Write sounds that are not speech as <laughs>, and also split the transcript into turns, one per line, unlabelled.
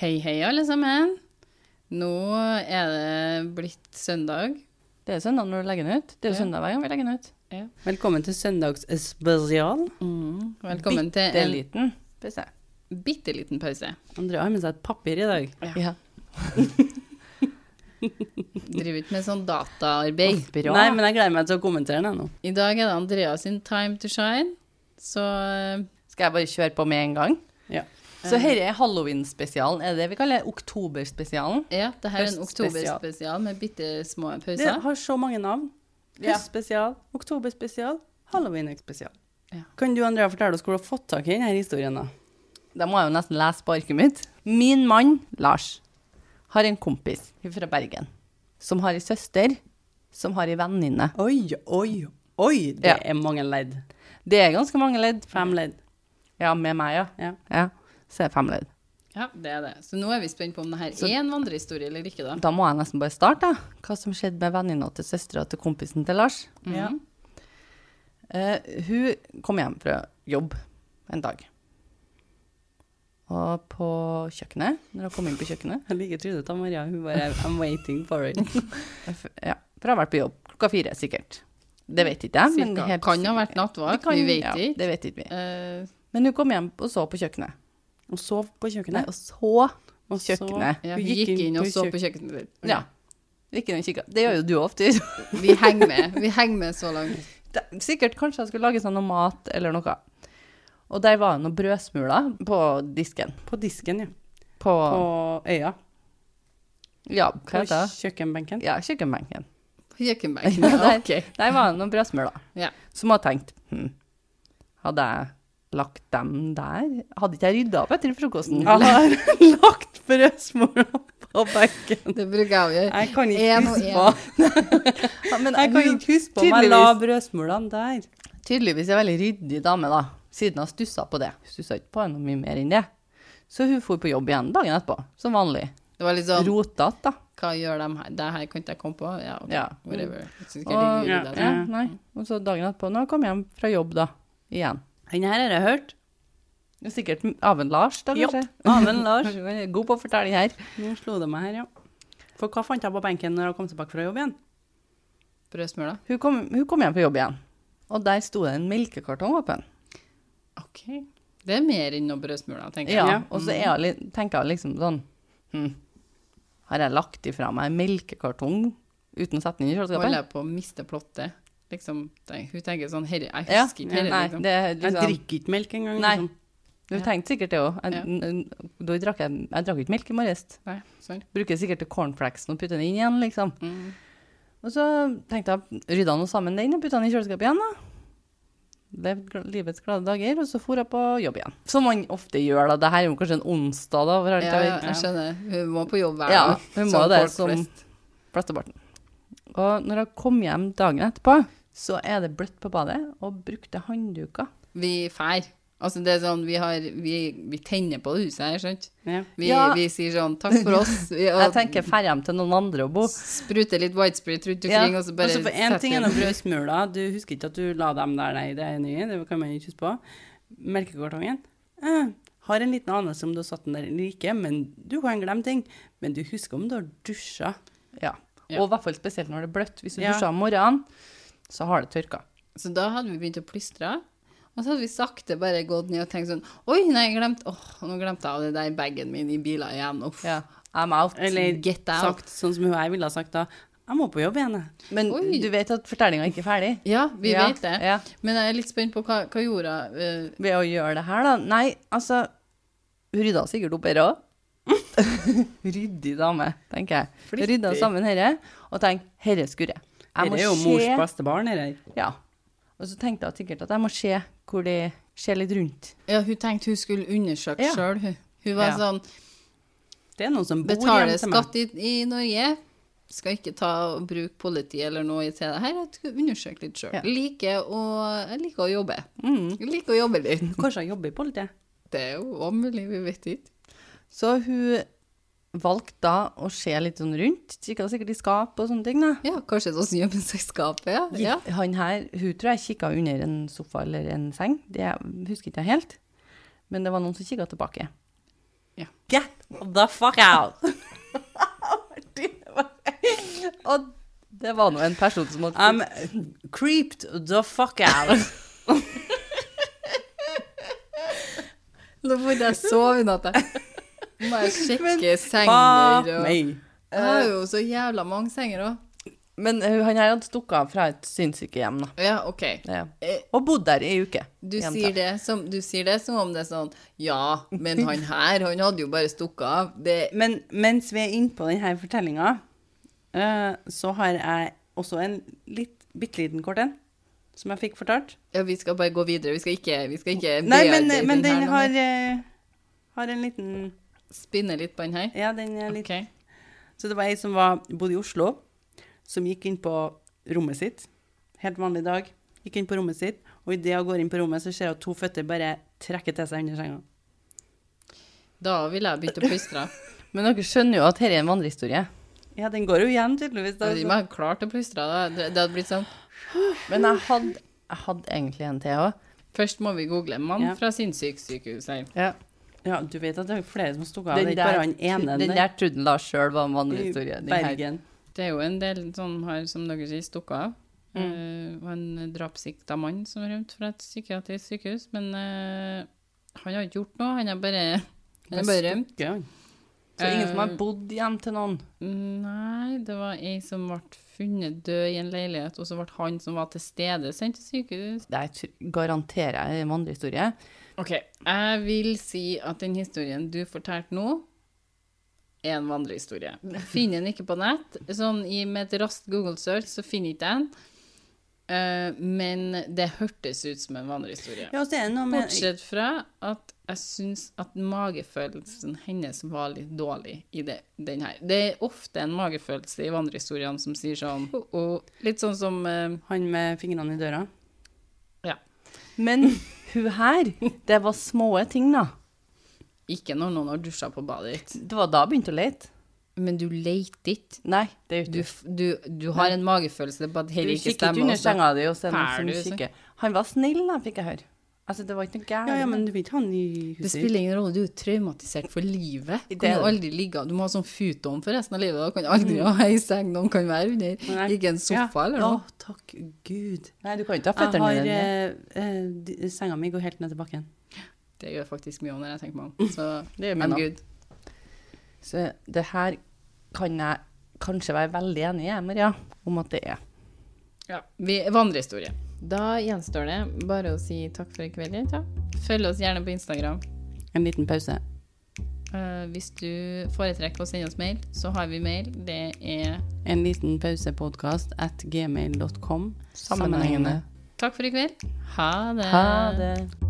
Hei, hei, alle sammen. Nå er det blitt søndag.
Det er søndag når du legger den ut. Det er jo
Ja.
søndag hver gang vi legger den ut.
Velkommen til søndagsspesial.
Mm, Velkommen
Det er
til
liten. Hvis jeg.
en bitte liten pause.
Andrea har med seg et papir i dag.
Ja.
<laughs> Driver ikke med sånn dataarbeid.
Bra.
Nei, men jeg gleder meg til å kommentere den nå.
I dag er det Andrea sin time to shine, så eh,
Skal jeg bare kjøre på med en gang?
Ja.
Så dette er halloween-spesialen. Er det det vi kaller oktoberspesialen?
ja, det her er en
Høstspesial.
oktoberspesial med bitte små
Det
pauser.
har så mange navn.
Ja.
Høstspesial, oktoberspesial, halloween-spesial.
Ja.
Kan du, Andrea, fortelle oss hvor du har fått tak i denne historien? da?
Da må jeg jo nesten lese på arket mitt. Min mann, Lars, har en kompis fra Bergen som har ei søster som har ei venninne.
Oi, oi, oi! Det
Ja.
er mange ledd.
Det er ganske mange ledd.
Fem ledd.
Ja, med meg, ja.
Ja.
ja. Så er det fem ledd.
Ja, det er det. Så nå er vi spent på om det her
Så-
er en vandrehistorie eller ikke, da.
Da må jeg nesten bare starte. da. Hva som skjedde med venninna til søstera til kompisen til Lars.
Ja.
Mm.
Eh, hun kom hjem fra jobb en dag. Og på kjøkkenet, når hun kom inn på kjøkkenet
Jeg liker Trude til Maria. Hun bare I'm waiting for it.
Ja, for jeg har vært på jobb klokka fire, sikkert. Det vet ikke jeg. men
Cirka.
helt
Kan ha
sikkert-
vært nattvakt,
Det kan-
vi vet
ja,
ikke.
Det vet ikke vi.
Eh,
Men hun kom hjem og så på kjøkkenet.
Og sov på
Nei,
kjøkkenet.
og så
Og så-
kjøkkenet.
ja, hun gikk inn og så på kjøkkenet. ditt.
Ja. Gikk inn og kikka. Det gjør jo du ofte. <laughs>
Vi henger med. Vi henger med så langt.
Det- Sikkert kanskje jeg skulle lage sånn noe mat eller noe. Og der var det noen brødsmuler på disken.
På disken, ja.
På,
På øya.
ja, hva
På
heter det?
kjøkkenbenken. <laughs>
Ja, kjøkkenbenken.
På kjøkkenbenken.
<laughs> Ja,
OK.
Der var det noen brødsmuler.
Ja.
Som hadde tenkt hm, Hadde jeg lagt dem der? Hadde ikke jeg rydda opp etter frokosten?
Jeg har <laughs> lagt brødsmula på benken.
Det bruker jeg å gjøre.
Jeg kan ikke
En og
huske
en.
på
<laughs> Ja, men
Jeg kan ikke huske på om jeg la
tydeligvis,
brødsmulene der.
tydeligvis en veldig ryddig dame, da. Siden hun stussa på det. Stussa ikke på noe mye mer enn det. Så hun for på jobb igjen dagen etterpå, som vanlig.
Det var litt sånn
Rotete, da.
Hva gjør de her? Det her kan ikke jeg komme på. Ja, OK.
Ja.
Whatever. Jeg synes ikke
Og,
jeg
ja,
liker det, altså.
ja, nei. og så dagen etterpå, når hun kom hjem fra jobb, da. Igjen.
Den her har jeg hørt.
Sikkert av en Lars, da, kanskje.
Amen, Lars.
Kanskje hun er <laughs> God på å fortelle her.
Nå slo det meg her, ja. For hva fant jeg på benken når jeg kom tilbake fra jobb igjen?
Brødsmør, da?
Hun kom, hun kom hjem på jobb igjen, og der sto det en melkekartong åpen.
OK. Det er mer enn noe brødsmør, da, tenker
Ja,
jeg.
Ja.
Og så er jeg, litt- tenker jeg liksom sånn hm, Har jeg lagt ifra meg en melkekartong uten å sette den inn i
Holder
kjøleskapet?
jeg på å miste plottet? Liksom, tenk- hun tenker sånn Herre, jeg
Ja,
husker ikke
nei,
herre, liksom.
det er
Jeg
liksom
drikker ikke melk engang.
Nei.
Liksom.
Du tenkte sikkert det òg.
Ja.
Jeg drakk jeg- jeg drakk ikke melk i morges.
Nei, sånn.
Bruker sikkert til cornflakesen og putter den inn igjen, liksom.
Mm.
Og så tenkte jeg rydda nå sammen den og putta den i kjøleskapet igjen, da. Levd gl- livets glade dager, og så for jeg på jobb igjen. Som man ofte gjør, da. Det her er jo kanskje en onsdag, da. For alt
Ja,
jeg vet.
jeg skjønner. Hun må på jobb hver
Ja,
dag.
hun må
som
det
folk
som
flest.
flesteparten. Og når jeg kom hjem dagen etterpå, så er det bløtt på badet, og brukte handduker.
Vi fær. Altså, det er sånn, vi, har, vi, vi tenner på det huset her, skjønt?
Ja.
Vi,
Ja.
vi sier sånn takk for oss.
<laughs>
Vi, og
Jeg tenker færre hjem til noen andre å bo.
spruter litt white spirit rundt
Ja,
omkring, og så bare
Altså, for én ting er
vi-
noen brødsmuler. Du husker ikke at du la dem der, nei. Det er jeg enig i. Det kan man ikke huske på. Melkekartongen. Eh, har en liten anelse om du har satt den der eller ikke, men du kan glemme ting. Men du husker om du har dusja.
Ja.
Ja.
Og i hvert fall spesielt når det er bløtt. Hvis du
Ja.
dusjer om morgenen, så har det tørka.
Så da hadde vi begynt å plystre. Og så hadde vi sakte bare gått ned og tenkt sånn Oi, nei, jeg glemte Åh, nå glemte jeg av det der bagen min i bilen igjen. Uff.
Ja. I'm out.
Eller
Get out.
sagt sånn som hun jeg ville ha sagt da. Jeg må på jobb igjen, jeg.
Men
Oi.
du vet at fortellinga ikke er ferdig?
Ja, vi
Ja,
vet det.
Ja.
Men jeg er litt spent på hva, hva gjorde jeg, eh,
Ved å gjøre det her, da. Nei, altså Hun rydda sikkert opp her òg. <laughs> Ryddig dame, tenker jeg.
Flittig.
Rydda sammen herre, og tenk, herre skurrer. Jeg må
Dette er jo
se-
mors beste barn, dette.
Ja. Og så tenkte jeg sikkert at jeg må se hvor de ser litt rundt.
Ja, hun tenkte hun skulle undersøke
Ja.
selv hun. Hun var
Ja.
sånn
Det er noen som bor
Betaler
hjemme til meg.
skatt i, i Norge. Skal ikke ta og bruke politi eller noe til det her. Jeg skal undersøke litt sjøl.
Ja.
Liker å, jeg liker å jobbe.
Mm.
Jeg liker å jobbe litt.
Kanskje jeg jobber i politiet?
Det er jo om mulig, vi vet ikke.
Så hun valgte da å se litt sånn rundt. Kikka sikkert i skap og sånne ting, da.
Ja, kanskje det er oss i hjemmeselskapet, ja. ja.
Han her, hun tror jeg kikka under en sofa eller en seng. Det husker ikke jeg helt. Men det var noen som kikka tilbake.
Ja.
Get the fuck out. og det var nå en person som hadde
I'm creeped the fuck out.
Nå burde jeg sove i natt. jeg. Nå må jeg sjekke
Fuck
senger og
meg.
Jeg har jo så jævla mange senger òg.
Men eh, han her hadde stukket av fra et sinnssykehjem, da.
Ja, OK.
Ja.
Eh,
Og bodd der i ei uke.
Du
jenta.
sier, det som, du sier det som om det er sånn Ja, men han her, han hadde jo bare stukket av. Det
Men mens vi er inne på denne fortellinga, eh, så har jeg også en litt, bitte liten kort en, som jeg fikk fortalt.
Ja, vi skal bare gå videre. Vi skal ikke, vi skal ikke
Nei, men,
bearbeide
men
den her
den
nå.
har, eh, har en liten
Spinne litt på den her.
Ja, den er litt
OK.
Så det var ei som var, bodde i Oslo, som gikk inn på rommet sitt. Helt vanlig dag. Gikk inn på rommet sitt, og idet hun går inn på rommet, så ser hun at to føtter bare trekker til seg under senga.
Da ville jeg begynt å plystre.
Men dere skjønner jo at dette er en vandrehistorie.
Ja, den går jo igjen, tydeligvis. <laughs> Da.
Jeg hadde ikke klart å plystre. da. Det, det hadde blitt sånn
Men jeg hadde, jeg hadde egentlig en til òg.
Først må vi google 'mann
Ja.
fra sinnssykesykehus' her.
Ja, du vet at det er flere som stukket av.
Den
Det er ikke
der-
bare han ene
den der trodde Lars sjøl var en vandrehistorie.
i
Den her-
Bergen.
Det er jo en del som har, som dere sier, stukket av. Mm. var en drapsikta mann som rømte fra et psykiatrisk sykehus, men eh, han har ikke gjort noe. Han har bare, han har bare rømt.
Stukket han.
Så ingen som har
Eh,
bodd hjem til noen.
Nei, det var ei som ble funnet død i en leilighet, og så ble han som var til stede, sendt til sykehus.
Det er, tr- garanterer jeg er en vandrehistorie.
OK, jeg vil si at den historien du fortalte nå, er en vandrehistorie. Finner den ikke på nett. Sånn i, med et raskt Google search, så finner jeg ikke den. Eh, men det hørtes ut som en vandrehistorie.
Ja, og så er det noe med
Bortsett fra at jeg syns at magefølelsen hennes var litt dårlig i det, den her. Det er ofte en magefølelse i vandrehistoriene som sier sånn «Ho, ho», Litt sånn som eh,
han med fingrene i døra.
Ja.
Men hun her, det var små ting, da.
Ikke når noen har dusja på badet ditt.
Det var da jeg begynte å lete.
Men du leter ikke.
Nei, det er
Du,
ute.
f- du, du har en magefølelse på at
Du
dette ikke
kikket
stemmer.
under
også.
senga di og så er det
Fæl
noen
du, så.
som kikker. Han var snill, da, fikk jeg høre. Altså, det var ikke noe gærent.
Ja, ja, men du vet han i
Det
huset ditt.
spiller ingen rolle, du er jo traumatisert for livet. Du
Det
kan
er
jo
det.
aldri ligge Du må ha sånn futon for resten av livet. Du kan aldri ha ei seng noen kan være under.
Nei.
Ikke en sofa eller
Ja,
noe.
Å, takk Gud.
Nei, du kan ikke ha
Jeg
føttene
har
dine ned.
eh, eh, de- Senga mi går helt ned til bakken.
Det gjør faktisk mye når jeg tenker meg om. Så
Det gjør min
I'm
også.
good.
Så det her kan jeg kanskje være veldig enig i, jeg, Maria, om at det er.
Ja, vi Vandrehistorie. Da gjenstår det bare å si takk for i kveld. Ja. Følg oss gjerne på Instagram.
En liten pause.
Eh, hvis du foretrekker å sende oss mail, så har vi mail. Det er
En liten pausepodkast at gmail.com.
Sammenhengende.
Takk for i kveld. Ha det.
Ha det.